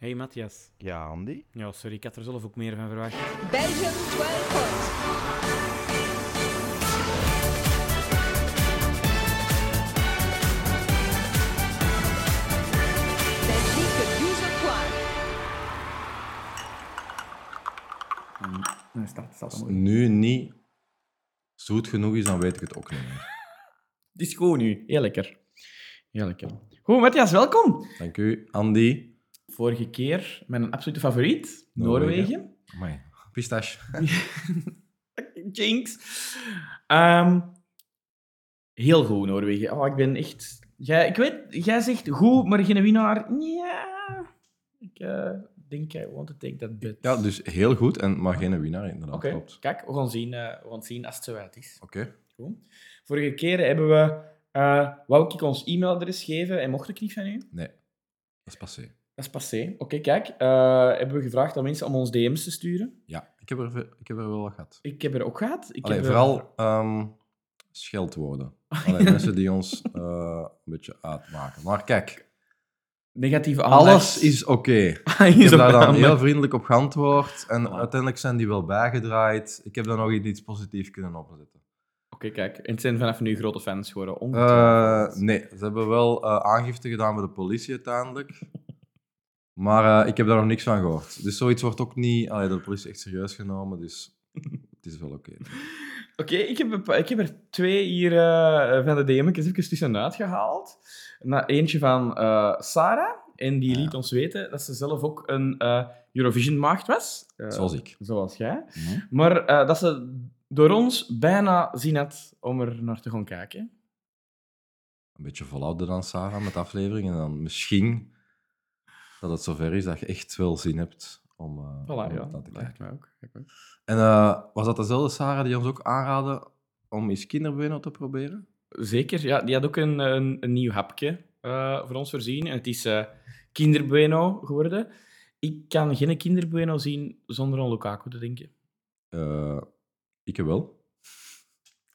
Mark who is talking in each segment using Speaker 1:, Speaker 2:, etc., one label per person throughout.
Speaker 1: Hey Matthias.
Speaker 2: Ja, Andy.
Speaker 1: Ja, sorry, ik had er zelf ook meer van verwacht.
Speaker 3: Belgium 12 points. Belgique 12 points.
Speaker 4: Nee, staat, staat
Speaker 5: Als
Speaker 4: allemaal
Speaker 5: het
Speaker 4: goed.
Speaker 5: nu niet zoet genoeg is, dan weet ik het ook niet meer.
Speaker 4: Disco nu. Heel lekker. Heel lekker. Goed, Matthias, welkom.
Speaker 5: Dank u, Andy.
Speaker 4: Vorige keer mijn absolute favoriet,
Speaker 5: Noorwegen.
Speaker 4: Noorwegen.
Speaker 5: Amai. Pistache.
Speaker 4: Jinx. Ehm, heel goed, Noorwegen. Oh, ik ben echt... Jij, ik weet, jij zegt goed, maar geen winnaar. Ja. Ik eh, denk, I want to take that bet.
Speaker 5: Ja, dus heel goed, en, maar geen winnaar inderdaad.
Speaker 4: Oké,
Speaker 5: Klopt.
Speaker 4: kijk, we gaan, zien, eh, we gaan zien als het zo uit is.
Speaker 5: Oké.
Speaker 4: Vorige keer hebben we... eh wou ik ons e-mailadres geven en mocht ik niet van u?
Speaker 5: Nee. Dat is passé.
Speaker 4: Dat is passé. Oké, kijk. eh, hebben we gevraagd aan mensen om ons DM's te sturen.
Speaker 5: Ja, ik heb er, ve- ik heb er wel wat gehad.
Speaker 4: Ik heb er ook gehad. Ik
Speaker 5: Allee,
Speaker 4: heb eh, er-
Speaker 5: vooral ehm, scheldwoorden. Allee, mensen die ons eh, een beetje uitmaken. Maar kijk,
Speaker 4: negatieve aandacht.
Speaker 5: alles is oké.
Speaker 4: is
Speaker 5: Ik heb
Speaker 4: op
Speaker 5: daar dan
Speaker 4: aan-
Speaker 5: heel vriendelijk op geantwoord. En
Speaker 4: Voilà.
Speaker 5: uiteindelijk zijn die wel bijgedraaid. Ik heb daar nog iets positiefs kunnen opzetten.
Speaker 4: Oké, kijk. En het zijn vanaf nu grote fans geworden.
Speaker 5: Eh,
Speaker 4: ongetwijfeld.
Speaker 5: nee, ze hebben wel eh, aangifte gedaan bij de politie uiteindelijk. Maar eh, ik heb daar nog niks van gehoord. Dus zoiets wordt ook niet allee, door de politie echt serieus genomen. Dus het is wel oké.
Speaker 4: Oké, ik, heb, een pa- ik heb er twee hier eh, van de DM's even tussenuit gehaald. Na, eentje van eh, Sarah. En
Speaker 5: Ah,
Speaker 4: die liet ons weten dat ze zelf ook een eh, Eurovision-maagd was. Eh,
Speaker 5: Zoals ik.
Speaker 4: Zoals jij.
Speaker 5: Mhm.
Speaker 4: Maar eh, dat ze door ons bijna zien had om er naar te gaan kijken.
Speaker 5: Een beetje volhouder dan Sarah met de aflevering. En dan misschien dat het zover is dat je echt wel zin hebt om, eh
Speaker 4: Voilà,
Speaker 5: om
Speaker 4: ja.
Speaker 5: dat te kijken.
Speaker 4: Lijkt mij ook. lijkt mij ook.
Speaker 5: En eh, was dat dezelfde Sarah die ons ook aanraadde om eens kinderbeno te proberen?
Speaker 4: Zeker, ja. Die had ook een, een, een nieuw hapje eh, voor ons voorzien. En het is eh kinderbueno geworden. Ik kan geen kinderbueno zien zonder aan Lukaku te denken.
Speaker 5: Eh, ik wel.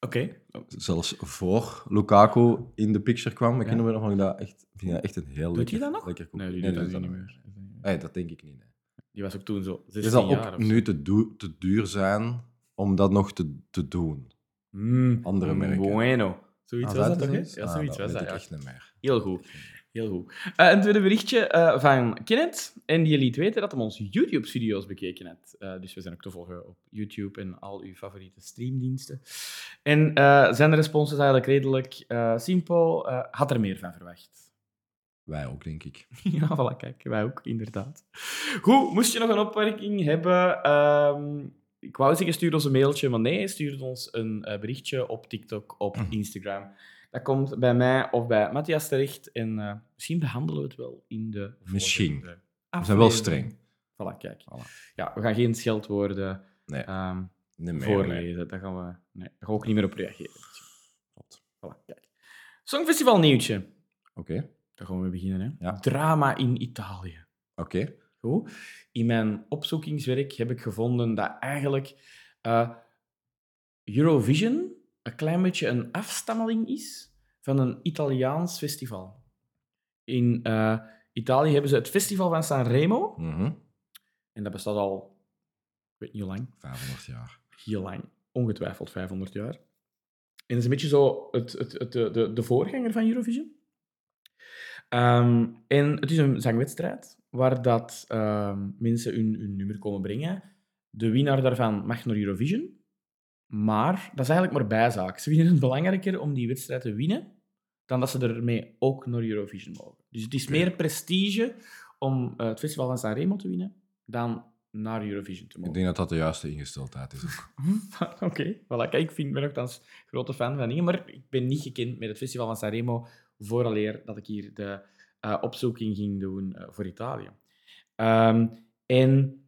Speaker 4: Oké.
Speaker 5: zelfs voor Lukaku in de picture kwam,
Speaker 4: Ja.
Speaker 5: ik herinner me nog vond ik dat echt, vind ik dat echt een heel lekker...
Speaker 4: hij dat nog?
Speaker 5: Lekker koek.
Speaker 4: Nee, die doet
Speaker 5: dat
Speaker 4: dat nu
Speaker 5: is
Speaker 4: niet
Speaker 5: dat
Speaker 4: meer.
Speaker 5: Nee, dat denk ik niet. nee.
Speaker 4: Die was ook toen zo 16
Speaker 5: Het zal
Speaker 4: jaar
Speaker 5: ook
Speaker 4: of zo.
Speaker 5: nu te, doe- te duur zijn om dat nog te, te doen.
Speaker 4: Mm,
Speaker 5: andere
Speaker 4: mm,
Speaker 5: merken.
Speaker 4: Bueno. Zoiets
Speaker 5: Ah,
Speaker 4: was dat
Speaker 5: is
Speaker 4: toch, hè?
Speaker 5: iets?
Speaker 4: Ja,
Speaker 5: Ah,
Speaker 4: zoiets was
Speaker 5: weet
Speaker 4: dat,
Speaker 5: ik
Speaker 4: ja.
Speaker 5: echt niet meer.
Speaker 4: Heel goed. Heel goed. Eh, een tweede berichtje eh, van Kenneth. En die liet weten dat hij ons YouTube-studio's bekeken had. Eh, dus we zijn ook te volgen op YouTube en al uw favoriete streamdiensten. En eh, zijn respons is eigenlijk redelijk eh, simpel. Eh, had er meer van verwacht.
Speaker 5: Wij ook, denk ik.
Speaker 4: ja, voilà, kijk. Wij ook, inderdaad. Goed, moest je nog een opmerking hebben... ehm, ik wou zeggen, stuur ons een mailtje, maar nee, stuur ons een eh, berichtje op TikTok, op
Speaker 5: Mm.
Speaker 4: Instagram. Dat komt bij mij of bij Matthias terecht en eh, misschien behandelen we het wel in de
Speaker 5: Misschien.
Speaker 4: volgende
Speaker 5: We zijn wel
Speaker 4: aflevering.
Speaker 5: streng.
Speaker 4: Voilà, kijk.
Speaker 5: Voilà.
Speaker 4: Ja, we gaan geen scheldwoorden
Speaker 5: Nee,
Speaker 4: ehm,
Speaker 5: niet meer. nee.
Speaker 4: voorlezen. Daar gaan we, nee, daar gaan we ook niet meer op reageren.
Speaker 5: Klopt.
Speaker 4: Voilà, kijk. Songfestival nieuwtje.
Speaker 5: Oké,
Speaker 4: Daar gaan we mee beginnen, hè.
Speaker 5: Ja.
Speaker 4: Drama in Italië.
Speaker 5: oké.
Speaker 4: Goed. In mijn opzoekingswerk heb ik gevonden dat eigenlijk eh, Eurovision een klein beetje een afstammeling is van een Italiaans festival. In eh, Italië hebben ze het festival van Sanremo.
Speaker 5: Mhm.
Speaker 4: En dat bestaat al, ik weet niet hoe lang,
Speaker 5: 500 jaar.
Speaker 4: heel lang. Ongetwijfeld 500 jaar. En dat is een beetje zo het, het, het, de, de, de voorganger van Eurovision. Ehm, en het is een zangwedstrijd waar dat, ehm, mensen hun, hun nummer komen brengen. De winnaar daarvan mag naar Eurovision. Maar dat is eigenlijk maar bijzaak. Ze vinden het belangrijker om die wedstrijd te winnen dan dat ze ermee ook naar Eurovision mogen. Dus het is
Speaker 5: Oké.
Speaker 4: meer prestige om eh, het festival van Sanremo te winnen dan naar Eurovision te mogen.
Speaker 5: Ik denk dat dat de juiste ingesteldheid is ook.
Speaker 4: Oké, voilà. Kijk, ik vind, ben nogthans grote fan van dingen, maar ik ben niet gekend met het festival van Sanremo vooraleer dat ik hier de eh, opzoeking ging doen eh, voor Italië. Ehm, en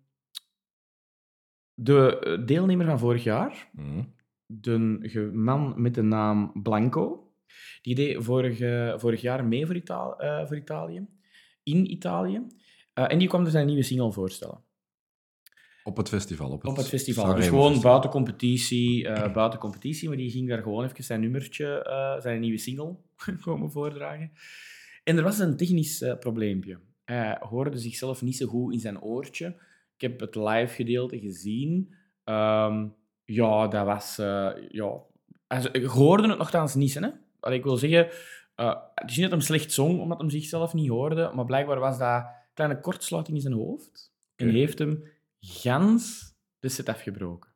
Speaker 4: de eh, deelnemer van vorig jaar,
Speaker 5: Mhm.
Speaker 4: de ge- man met de naam Blanco, die deed vorig, eh, vorig jaar mee voor, Ita- eh, voor Italië, in Italië. Eh, en die kwam dus zijn nieuwe single voorstellen.
Speaker 5: Op het festival. Op het,
Speaker 4: Op het festival.
Speaker 5: Sanremo
Speaker 4: dus gewoon
Speaker 5: festival.
Speaker 4: buiten competitie, eh, buiten competitie. Maar die ging daar gewoon even zijn nummertje, eh, zijn nieuwe single komen voordragen. En er was een technisch eh, probleempje. Hij hoorde zichzelf niet zo goed in zijn oortje. Ik heb het live gedeelte gezien. Ehm, ja, dat was... eh, ja. Also, ik hoorde het nogthans niet, hè. Allee, ik wil zeggen, eh, het is niet dat hij slecht zong, omdat hij zichzelf niet hoorde, maar blijkbaar was dat een kleine kortsluiting in zijn hoofd. En
Speaker 5: Oké.
Speaker 4: heeft hem gans de set afgebroken.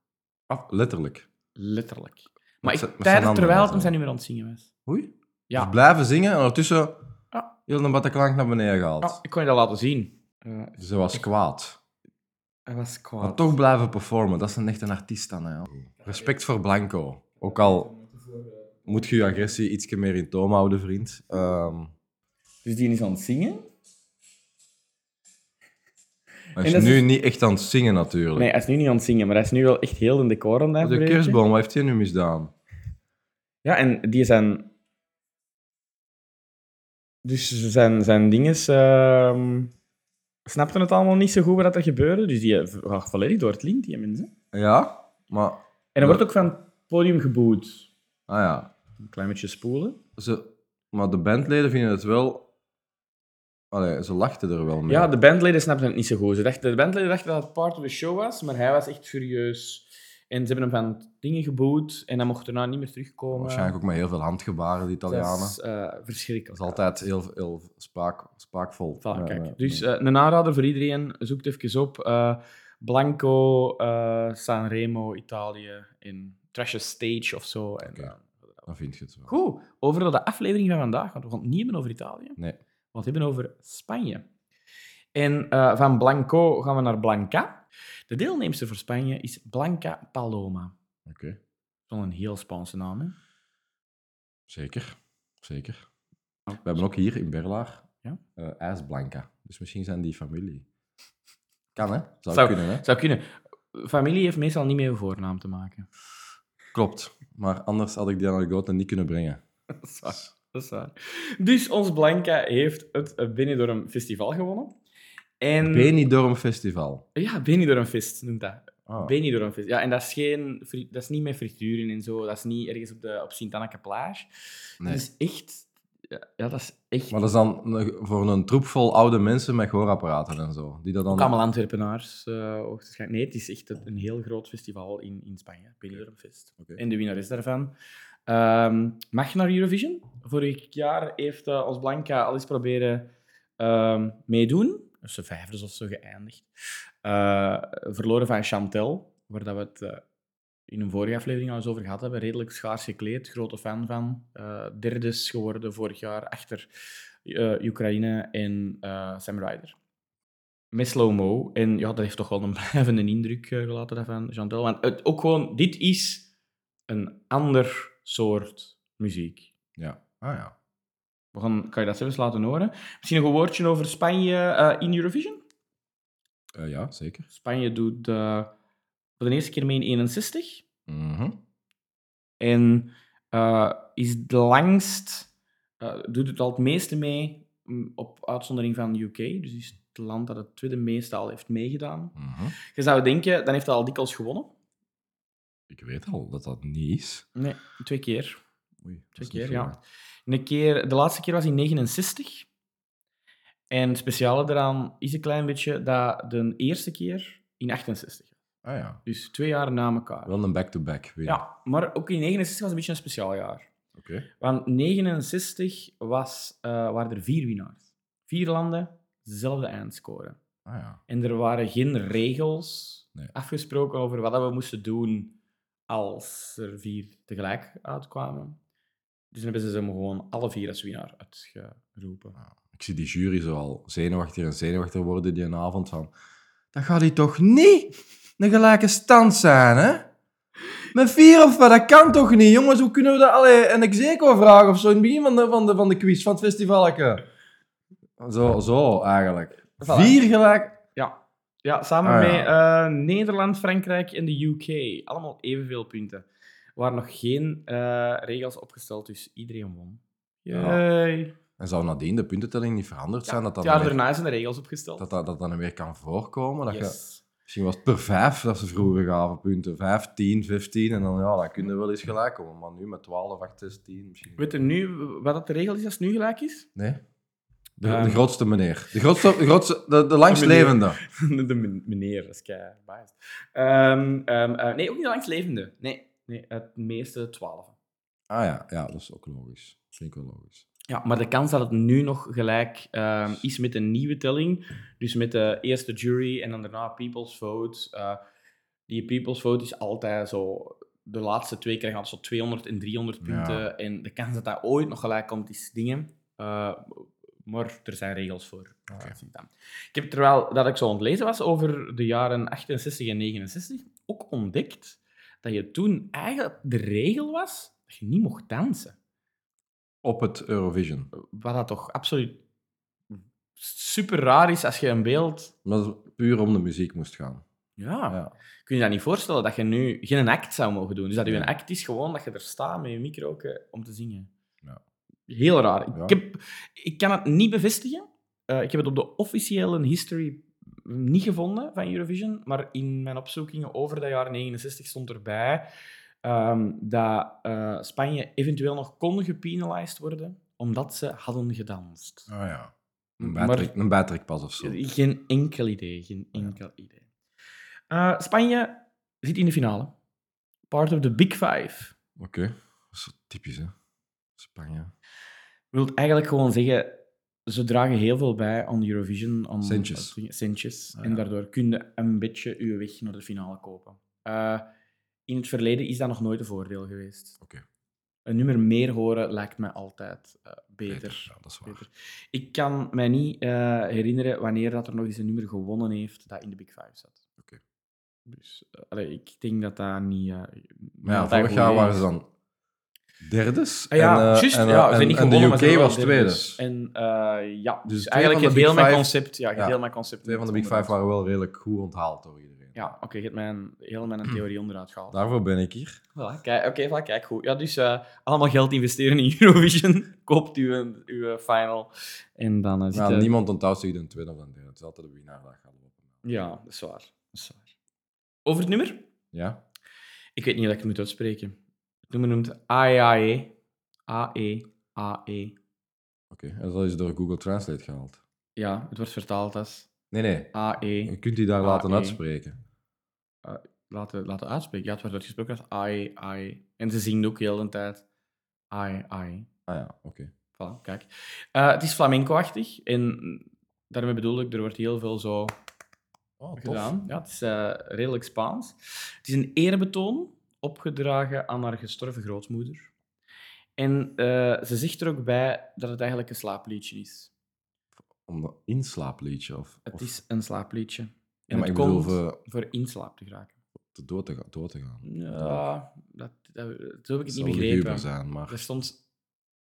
Speaker 5: Af- letterlijk.
Speaker 4: Letterlijk. Maar ik,
Speaker 5: zijn- met zijn
Speaker 4: tijdens,
Speaker 5: handen
Speaker 4: terwijl het
Speaker 5: was
Speaker 4: hem
Speaker 5: dat.
Speaker 4: zijn nummer aan het zingen was.
Speaker 5: Oei.
Speaker 4: Ja.
Speaker 5: Dus blijven zingen en ondertussen
Speaker 4: Ja.
Speaker 5: heel een bataclank naar beneden gehaald.
Speaker 4: Ah, ik kon je dat laten zien. Eh,
Speaker 5: Ze was kwaad.
Speaker 4: hij was kwaad.
Speaker 5: Maar toch blijven performen, dat is een echte artiest dan. Hè. Respect voor Blanco. Ook al moet je je agressie iets meer in toom houden, vriend. Ehm,
Speaker 4: Dus die is aan het zingen?
Speaker 5: hij
Speaker 4: En
Speaker 5: is
Speaker 4: dat
Speaker 5: nu
Speaker 4: is-
Speaker 5: niet echt aan het zingen natuurlijk.
Speaker 4: Nee, hij is nu niet aan het zingen, maar hij is nu wel echt heel in decor aan het
Speaker 5: de
Speaker 4: uitbreken.
Speaker 5: kerstboom, wat heeft hij nu misdaan?
Speaker 4: Ja, en die zijn... Dus zijn, zijn dinges... ehm snapten het allemaal niet zo goed wat er gebeurde. Dus die gaat volledig door het lint, die mensen.
Speaker 5: Ja, maar...
Speaker 4: En er wordt ook van het podium geboet.
Speaker 5: Ah ja.
Speaker 4: Een klein beetje spoelen.
Speaker 5: Ze, maar de bandleden vinden het wel... Allee, ze lachten er wel mee.
Speaker 4: Ja, de bandleden snapten het niet zo goed. Ze dachten, de bandleden dachten dat het part of the show was, maar hij was echt furieus. En ze hebben hem van dingen geboet en hij mocht daarna nou niet meer terugkomen.
Speaker 5: Waarschijnlijk ook met heel veel handgebaren, de Italianen.
Speaker 4: Dat is eh,
Speaker 5: Dat
Speaker 4: verschrikkelijk.
Speaker 5: is altijd heel, heel spaak, spaakvol.
Speaker 4: Voilà,
Speaker 5: Ja,
Speaker 4: kijk.
Speaker 5: ja,
Speaker 4: dus
Speaker 5: ja.
Speaker 4: eh, een aanrader voor iedereen. Zoek het even op. eh, Blanco, eh, Sanremo, Italië. In Trash Stage of zo. En,
Speaker 5: Oké.
Speaker 4: eh,
Speaker 5: dan vind je het wel.
Speaker 4: goed, over de aflevering van vandaag. Want we gaan het niet hebben over Italië.
Speaker 5: Nee.
Speaker 4: We gaan het hebben over Spanje. En eh, van Blanco gaan we naar Blanca. De deelnemster voor Spanje is Blanca Paloma.
Speaker 5: Oké,
Speaker 4: Wel een heel Spaanse naam, hè?
Speaker 5: zeker. Zeker. We hebben ook hier in Berlaar
Speaker 4: Oh, Ja?
Speaker 5: eh, IJsblanca. Dus misschien zijn die familie. Kan, hè? Zou,
Speaker 4: Zou-
Speaker 5: kunnen, hè?
Speaker 4: Zou kunnen. Familie heeft meestal niet met een voornaam te maken.
Speaker 5: Klopt. Maar anders had ik die anekdote niet kunnen brengen.
Speaker 4: Dat is waar, dat is waar. Dus ons Blanca heeft het eh, Benidorm Festival gewonnen. En...
Speaker 5: Benidorm Festival.
Speaker 4: ja, Benidorm Fest noemt dat.
Speaker 5: Ah,
Speaker 4: Benidorm Fest. Ja, en dat is, geen, fri- dat is niet met frituren en zo. Dat is niet ergens op, de, op Sint-Anneke Plage.
Speaker 5: Nee.
Speaker 4: Dat is echt... Ja, dat is echt...
Speaker 5: Maar dat is dan een- voor een troep vol oude mensen met gehoorapparaten en zo. Die dat dan...
Speaker 4: Ook allemaal Antwerpenaars. eh, hoogstwaarschijnlijk. nee, het is echt een een heel groot festival in, in Spanje. Benidorm Fest.
Speaker 5: Oké.
Speaker 4: En de winnares daarvan. Ehm, mag je naar Eurovision? Vorig jaar heeft eh, ons Blanca al eens proberen ehm, meedoen. Dus de vijfde of zo geëindigd. Eh, verloren van Chantel, waar dat we het eh, in een vorige aflevering al eens over gehad hebben. Redelijk schaars gekleed, grote fan van. Eh derde is geworden vorig jaar achter eh, Oekraïne en eh, Sam Ryder. Met slow-mo. En ja, dat heeft toch wel een blijvende indruk eh, gelaten daarvan, Chantel. Want het, ook gewoon, dit is een ander soort muziek.
Speaker 5: Ja. Ah ja.
Speaker 4: We gaan, kan je dat zelf eens laten horen? Misschien nog een woordje over Spanje eh, in Eurovision.
Speaker 5: Eh, ja, zeker.
Speaker 4: Spanje doet eh, voor de eerste keer mee in 61.
Speaker 5: Mhm.
Speaker 4: En eh, is de langst, eh, doet het al het meeste mee, mm, op uitzondering van UK. Dus is het land dat het tweede meeste al heeft meegedaan.
Speaker 5: Mhm.
Speaker 4: Je zou denken, dan heeft hij al dikwijls gewonnen.
Speaker 5: Ik weet al dat dat niet is.
Speaker 4: Nee, twee keer.
Speaker 5: Oei, dat
Speaker 4: Twee
Speaker 5: is niet
Speaker 4: keer,
Speaker 5: veel,
Speaker 4: ja.
Speaker 5: hè.
Speaker 4: Een keer, de laatste keer was in 69. En het speciale daaraan is een klein beetje dat de eerste keer in 68.
Speaker 5: Ah ja.
Speaker 4: Dus twee jaar na elkaar.
Speaker 5: Wel een back-to-back win.
Speaker 4: Ja, maar ook in 69 was een beetje een speciaal jaar.
Speaker 5: Oké.
Speaker 4: Want 69 was, eh, waren er vier winnaars. Vier landen, dezelfde eindscore.
Speaker 5: Ah ja.
Speaker 4: En er waren geen regels
Speaker 5: Nee.
Speaker 4: afgesproken over wat dat we moesten doen als er vier tegelijk uitkwamen. Dus dan hebben ze ze gewoon alle vier als winnaar uitgeroepen.
Speaker 5: Ik zie die jury zo al zenuwachtiger en zenuwachtiger worden die avond van... Dat gaat hij toch niet een gelijke stand zijn, hè? Met vier of wat, dat kan toch niet? Jongens, hoe kunnen we dat... Allee, een execo vragen of zo in het begin van de, van de, van de quiz, van het festivalke. Zo, zo eigenlijk.
Speaker 4: Voilà.
Speaker 5: Vier gelijk...
Speaker 4: Ja, ja samen
Speaker 5: Ah, ja.
Speaker 4: met eh, Nederland, Frankrijk en de UK. Allemaal evenveel punten. Er waren nog geen eh, regels opgesteld, dus iedereen won.
Speaker 5: Ja.
Speaker 4: Yay.
Speaker 5: En zou nadien de puntentelling niet veranderd zijn? dat,
Speaker 4: het
Speaker 5: dat,
Speaker 4: jaar
Speaker 5: dan weer,
Speaker 4: daarna zijn de regels opgesteld.
Speaker 5: dat, dat, dat dan weer kan voorkomen? Dat je,
Speaker 4: yes.
Speaker 5: misschien was het per vijf dat ze vroeger gaven punten. Vijf, tien, vijftien. En dan, ja, dan kun je wel eens gelijk komen. Maar nu met twaalf, acht, zestien misschien...
Speaker 4: Weet je nu wat dat de regel is als het nu gelijk is?
Speaker 5: Nee. De,
Speaker 4: Ehm.
Speaker 5: de grootste meneer. De grootste, de, grootste, de, de langstlevende.
Speaker 4: de, de men- meneer, dat is kei biased. Ehm, ehm, eh, nee, ook niet de langstlevende. Nee, nee, het meeste twaalf.
Speaker 5: Ah ja, ja, dat is ook logisch. Vind ik wel logisch.
Speaker 4: Ja, maar de kans dat het nu nog gelijk ehm, is met een nieuwe telling, dus met de eerste jury en dan daarna people's vote, eh, die people's vote is altijd zo, de laatste twee krijgen altijd zo 200 en 300
Speaker 5: Ja.
Speaker 4: punten en de kans dat dat ooit nog gelijk komt is dingen, Eh, maar er zijn regels voor. eh,
Speaker 5: Oké.
Speaker 4: zit dan. Ik heb terwijl dat ik zo aan het lezen was over de jaren 68 en 69, ook ontdekt dat je toen eigenlijk de regel was dat je niet mocht dansen
Speaker 5: Op het Eurovision.
Speaker 4: wat dat toch absoluut super raar is als je een beeld.
Speaker 5: Omdat het puur om de muziek moest gaan.
Speaker 4: Ja.
Speaker 5: Ja.
Speaker 4: Kun je dat niet voorstellen dat je nu geen act zou mogen doen? Dus dat je een
Speaker 5: Nee.
Speaker 4: act is gewoon dat je er staat met je micro eh, om te zingen.
Speaker 5: Ja.
Speaker 4: Heel raar. Ik,
Speaker 5: Ja.
Speaker 4: heb, ik kan het niet bevestigen. Eh, ik heb het op de officiële history niet gevonden van Eurovision. Maar in mijn opzoekingen over dat jaar 69 stond erbij ehm, dat eh, Spanje eventueel nog kon gepenalized worden omdat ze hadden gedanst.
Speaker 5: Ah ja. Een
Speaker 4: Maar-
Speaker 5: bijtrek- een bijtrekpas of zo.
Speaker 4: Geen enkel idee, geen enkel idee. Eh, Spanje zit in de finale. Part of the Big Five.
Speaker 5: Oké. Dat is zo typisch, hè? Spanje.
Speaker 4: Wil eigenlijk gewoon zeggen, ze dragen heel veel bij aan Eurovision. Aan
Speaker 5: Centjes.
Speaker 4: aan- centjes.
Speaker 5: Ah,
Speaker 4: En
Speaker 5: ja.
Speaker 4: daardoor kun je een beetje uw weg naar de finale kopen. Eh, in het verleden is dat nog nooit een voordeel geweest.
Speaker 5: Oké.
Speaker 4: Een nummer meer horen lijkt mij altijd eh, beter.
Speaker 5: Ja, dat is waar.
Speaker 4: Beter. Ik kan mij niet eh, herinneren wanneer dat er nog eens een nummer gewonnen heeft dat in de Big Five zat.
Speaker 5: Oké.
Speaker 4: Dus eh, allee, ik denk dat dat niet. eh,
Speaker 5: Maar ja,
Speaker 4: niet altijd
Speaker 5: vorig
Speaker 4: goed
Speaker 5: jaar
Speaker 4: is.
Speaker 5: waren ze dan derdes.
Speaker 4: Ah, ja,
Speaker 5: en, eh,
Speaker 4: juist.
Speaker 5: en, eh,
Speaker 4: ja, ze zijn
Speaker 5: en-
Speaker 4: niet
Speaker 5: en
Speaker 4: gewonnen, maar ze
Speaker 5: de
Speaker 4: zijn
Speaker 5: UK
Speaker 4: wel
Speaker 5: was
Speaker 4: derde.
Speaker 5: tweede.
Speaker 4: En eh, ja, dus
Speaker 5: twee
Speaker 4: eigenlijk
Speaker 5: van
Speaker 4: het
Speaker 5: de
Speaker 4: heel
Speaker 5: Big
Speaker 4: mijn
Speaker 5: Five-
Speaker 4: concept. Ja, je
Speaker 5: ja,
Speaker 4: heel mijn concept.
Speaker 5: Twee van de Big Five
Speaker 4: onderuit.
Speaker 5: waren wel redelijk goed onthaald door iedereen.
Speaker 4: Ja, oké, je hebt mijn, heel mijn
Speaker 5: Hmm.
Speaker 4: theorie onderuit gehaald.
Speaker 5: Daarvoor ben ik hier.
Speaker 4: Voilà, kijk, oké, voilà, kijk, goed. Ja, dus eh, allemaal geld investeren in Eurovision. Koopt uw, uw eh, final. En dan eh, zit
Speaker 5: Ja,
Speaker 4: je-
Speaker 5: niemand onthoudt zich de tweede of de derde. Het is altijd de winnaar dat gaat lopen.
Speaker 4: Ja, dat is waar. Dat is waar. Over het nummer?
Speaker 5: Ja?
Speaker 4: Ik weet niet of ik het moet uitspreken. Het nummer noemt E AEAE. E AEAE.
Speaker 5: Oké. En dat is door Google Translate gehaald.
Speaker 4: Ja, het wordt vertaald als
Speaker 5: Nee, nee. Je
Speaker 4: AE.
Speaker 5: kunt die daar
Speaker 4: Ah,
Speaker 5: laten
Speaker 4: eh.
Speaker 5: uitspreken.
Speaker 4: Laten, laten uitspreken. Ja, het wordt uitgesproken als AE, AE. E. En ze zingen ook heel de tijd AE, AE.
Speaker 5: Ah ja, oké.
Speaker 4: E. Voilà, kijk. Eh, het is flamenco-achtig. En daarmee bedoel ik, er wordt heel veel zo...
Speaker 5: Oh, tof.
Speaker 4: gedaan. Ja, het is eh, redelijk Spaans. Het is een erebetoon opgedragen aan haar gestorven grootmoeder. En eh, ze zegt er ook bij dat het eigenlijk een slaapliedje is.
Speaker 5: Om een inslaapliedje of...
Speaker 4: Het
Speaker 5: of-
Speaker 4: is een slaapliedje.
Speaker 5: Ja,
Speaker 4: En
Speaker 5: maar
Speaker 4: het
Speaker 5: ik bedoel,
Speaker 4: komt
Speaker 5: voor
Speaker 4: voor in slaap te geraken.
Speaker 5: te- door te gaan. Door te gaan.
Speaker 4: Ja, dat, dat, zo heb ik
Speaker 5: Het
Speaker 4: het niet
Speaker 5: zal luguber
Speaker 4: begrepen. Dus-
Speaker 5: zijn, maar...
Speaker 4: Er stond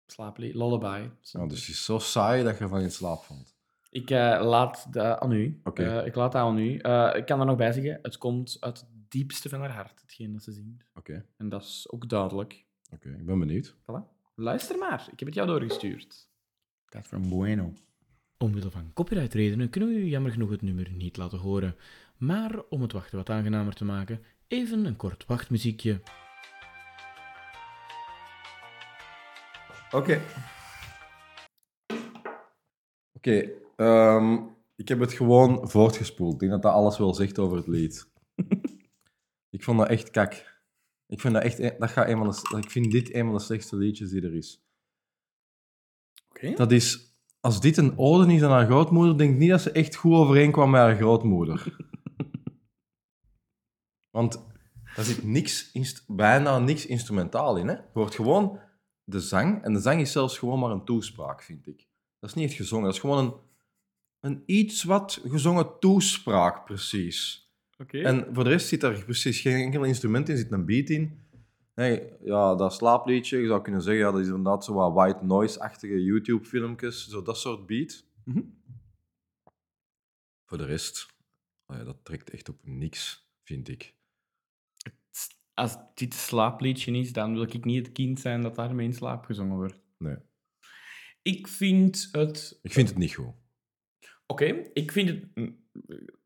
Speaker 4: slaaplied, lullaby. stond er.
Speaker 5: Ja, dus het is zo saai dat je van in slaap valt.
Speaker 4: Ik eh, laat dat aan u.
Speaker 5: Oké.
Speaker 4: Eh, ik laat dat aan u. Eh, ik kan er nog bij zeggen, het komt uit het diepste van haar hart, hetgeen dat ze zingt.
Speaker 5: Oké,
Speaker 4: En dat is ook duidelijk.
Speaker 5: oké. Ik ben benieuwd.
Speaker 4: Voilà. Luister maar, ik heb het jou doorgestuurd. Dat van Bueno.
Speaker 1: Omwille van copyrightredenen kunnen we u jammer genoeg het nummer niet laten horen. Maar om het wachten wat aangenamer te maken, even een kort wachtmuziekje.
Speaker 5: Oké. Oké, ehm, ik heb het gewoon voortgespoeld. Ik denk dat dat alles wel zegt over het lied. ik vond dat echt kak. Ik vind dat echt... een- Dat gaat een van de, s- ik vind dit een van de slechtste liedjes die er is.
Speaker 4: Oké.
Speaker 5: Dat is... Als dit een ode is aan haar grootmoeder, denk ik niet dat ze echt goed overeenkwam met haar grootmoeder. Want daar zit niks, inst- bijna niks instrumentaal in. Hè? Je hoort gewoon de zang. En de zang is zelfs gewoon maar een toespraak, vind ik. Dat is niet echt gezongen. Dat is gewoon een, een iets wat gezongen toespraak, precies. En voor de rest zit er precies geen enkel instrument in, zit een beat in. Nee, ja, dat slaapliedje, je zou kunnen zeggen, ja, dat is inderdaad zo wat white noise-achtige YouTube-filmpjes, zo dat soort beat.
Speaker 4: Mhm.
Speaker 5: Voor de rest, oh ja, dat trekt echt op niks, vind ik.
Speaker 4: Als dit een slaapliedje is, dan wil ik niet het kind zijn dat daarmee in slaap gezongen wordt.
Speaker 5: Nee.
Speaker 4: Ik vind het...
Speaker 5: Ik vind het niet goed.
Speaker 4: Oké, ik vind het... mm,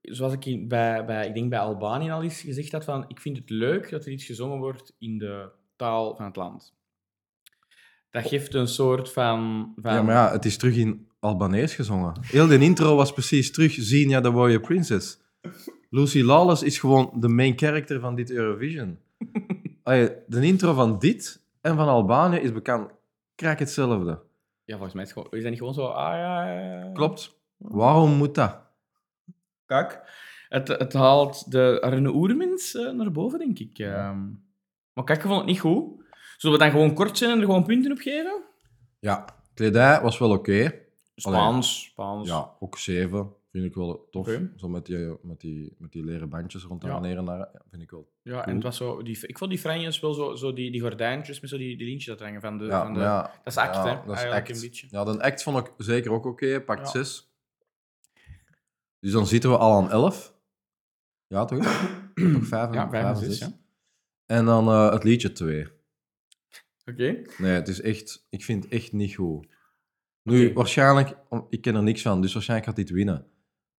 Speaker 4: Zoals ik in- bij, bij, ik denk bij Albanië al eens gezegd had, van, ik vind het leuk dat er iets gezongen wordt in de
Speaker 5: Oh.
Speaker 4: taal van het land. Dat geeft een soort van... van
Speaker 5: Ja, maar ja, het is terug in Albanees gezongen. Heel die intro was precies terug Xenia the Warrior Princess. Lucy Lawless is gewoon de main character van dit Eurovision. Allee, de intro van dit en van Albanië is bekend krijg hetzelfde.
Speaker 4: Ja, volgens mij is, het gewoon, is dat niet gewoon zo... Ah, ja, ja, ja.
Speaker 5: Klopt. Waarom moet dat?
Speaker 4: Kak. Het, het haalt de Arne Oermins eh, naar boven, denk ik. Ehm, maar kijk, ik vond het niet goed. Zullen we dan gewoon kort zijn en er gewoon punten op geven?
Speaker 5: Ja, kledij was wel oké.
Speaker 4: Spaans. Spaans.
Speaker 5: Ja, ook 7. Vind ik wel tof.
Speaker 4: Oké.
Speaker 5: Zo met die, met, die, met die leren bandjes rond de
Speaker 4: Ja.
Speaker 5: heren daar. Ja, vind ik wel.
Speaker 4: Ja, en het was zo, die, ik vond die franjes wel zo, zo die, die gordijntjes met zo die, die lintjes dat hangen van de...
Speaker 5: Ja,
Speaker 4: van de
Speaker 5: maar ja,
Speaker 4: Dat is act,
Speaker 5: ja,
Speaker 4: hè?
Speaker 5: dat is
Speaker 4: Eigenlijk
Speaker 5: act.
Speaker 4: een beetje.
Speaker 5: Ja, de act vond ik zeker ook oké. Pakt
Speaker 4: Ja.
Speaker 5: 6. Dus dan zitten we al aan 11. Ja, toch? toch 5
Speaker 4: Ja, vijf en zes, ja.
Speaker 5: En dan eh, het liedje 2.
Speaker 4: Oké.
Speaker 5: Nee, het is echt... Ik vind het echt niet goed. Nu,
Speaker 4: Oké.
Speaker 5: waarschijnlijk... om- Ik ken er niks van, dus waarschijnlijk gaat dit winnen.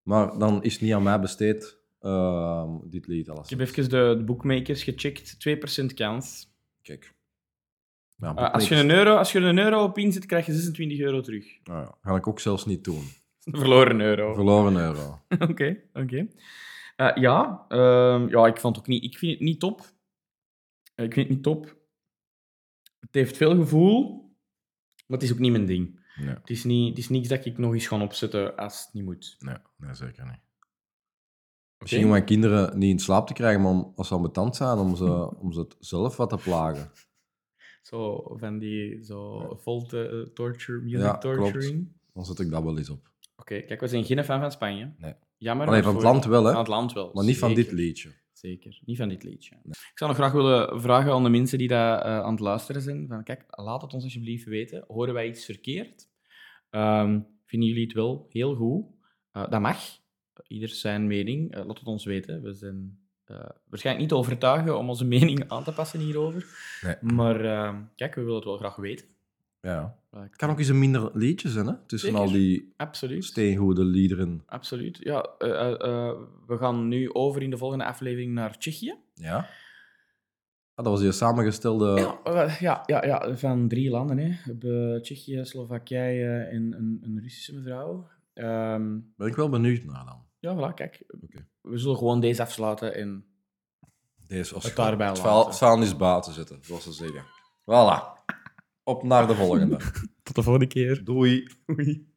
Speaker 5: Maar dan is het niet aan mij besteed, ehm, dit lied. Alles.
Speaker 4: Ik heb even de, de bookmakers gecheckt. 2% kans.
Speaker 5: Kijk. Ja,
Speaker 4: Eh, als, je een euro, als je er een euro op inzet, krijg je 26 euro terug.
Speaker 5: Nou ja, ga ik ook zelfs niet doen.
Speaker 4: Een verloren euro.
Speaker 5: Verloren euro.
Speaker 4: Oké, oké. Eh, ja, ehm, ja, ik vond het ook niet... Ik vind het niet top. Eh, Ik vind het niet top. Het heeft veel gevoel, maar het is ook niet mijn ding.
Speaker 5: Nee,
Speaker 4: Het is, niet, het is niks dat ik nog eens ga opzetten als het niet moet.
Speaker 5: nee, nee zeker niet.
Speaker 4: Oké.
Speaker 5: Misschien om mijn kinderen niet in slaap te krijgen, maar om, als ze ambetant zijn, om ze, om ze het zelf wat te plagen.
Speaker 4: Zo van die zo volt eh, torture, music
Speaker 5: Ja, klopt.
Speaker 4: torturing.
Speaker 5: Dan zet ik dat wel eens op.
Speaker 4: Oké, kijk, we zijn geen fan van Spanje.
Speaker 5: Nee.
Speaker 4: Jammer.
Speaker 5: Alleen
Speaker 4: maar
Speaker 5: van het
Speaker 4: voor-
Speaker 5: land wel,
Speaker 4: Van
Speaker 5: hè?
Speaker 4: het land wel.
Speaker 5: Maar niet van
Speaker 4: zeker.
Speaker 5: dit liedje.
Speaker 4: Zeker, niet van dit liedje. Ik zou nog graag willen vragen aan de mensen die daar eh, aan het luisteren zijn. Van, kijk, laat het ons alsjeblieft weten. Horen wij iets verkeerd? Ehm, vinden jullie het wel heel goed? Eh, dat mag. Ieder zijn mening. Eh, laat het ons weten. We zijn eh, waarschijnlijk niet te overtuigen om onze mening aan te passen hierover.
Speaker 5: Nee.
Speaker 4: Maar ehm, kijk, we willen het wel graag weten.
Speaker 5: Ja.
Speaker 4: Eh, ik-
Speaker 5: Het kan ook eens een minder liedje zijn, hè? Tussen
Speaker 4: Zeker.
Speaker 5: al die
Speaker 4: Absoluut.
Speaker 5: steengoede liederen.
Speaker 4: Absoluut. Ja, eh, eh, eh, we gaan nu over in de volgende aflevering naar Tsjechië.
Speaker 5: Ja. Ah, dat was die samengestelde...
Speaker 4: Ja, eh, ja, ja, ja, van drie landen. Hè. Be- Tsjechië, Slowakije en een, een Russische mevrouw. Ehm,
Speaker 5: Ben ik wel benieuwd naar dan.
Speaker 4: ja, voilà, kijk.
Speaker 5: Oké.
Speaker 4: We zullen gewoon deze afsluiten en
Speaker 5: Deze was
Speaker 4: Het daarbij
Speaker 5: het
Speaker 4: laten.
Speaker 5: vuil- vuilnis buiten zetten, zoals ze zeggen. Voilà. Op naar de volgende.
Speaker 4: tot de volgende keer.
Speaker 5: Doei.
Speaker 4: Doei.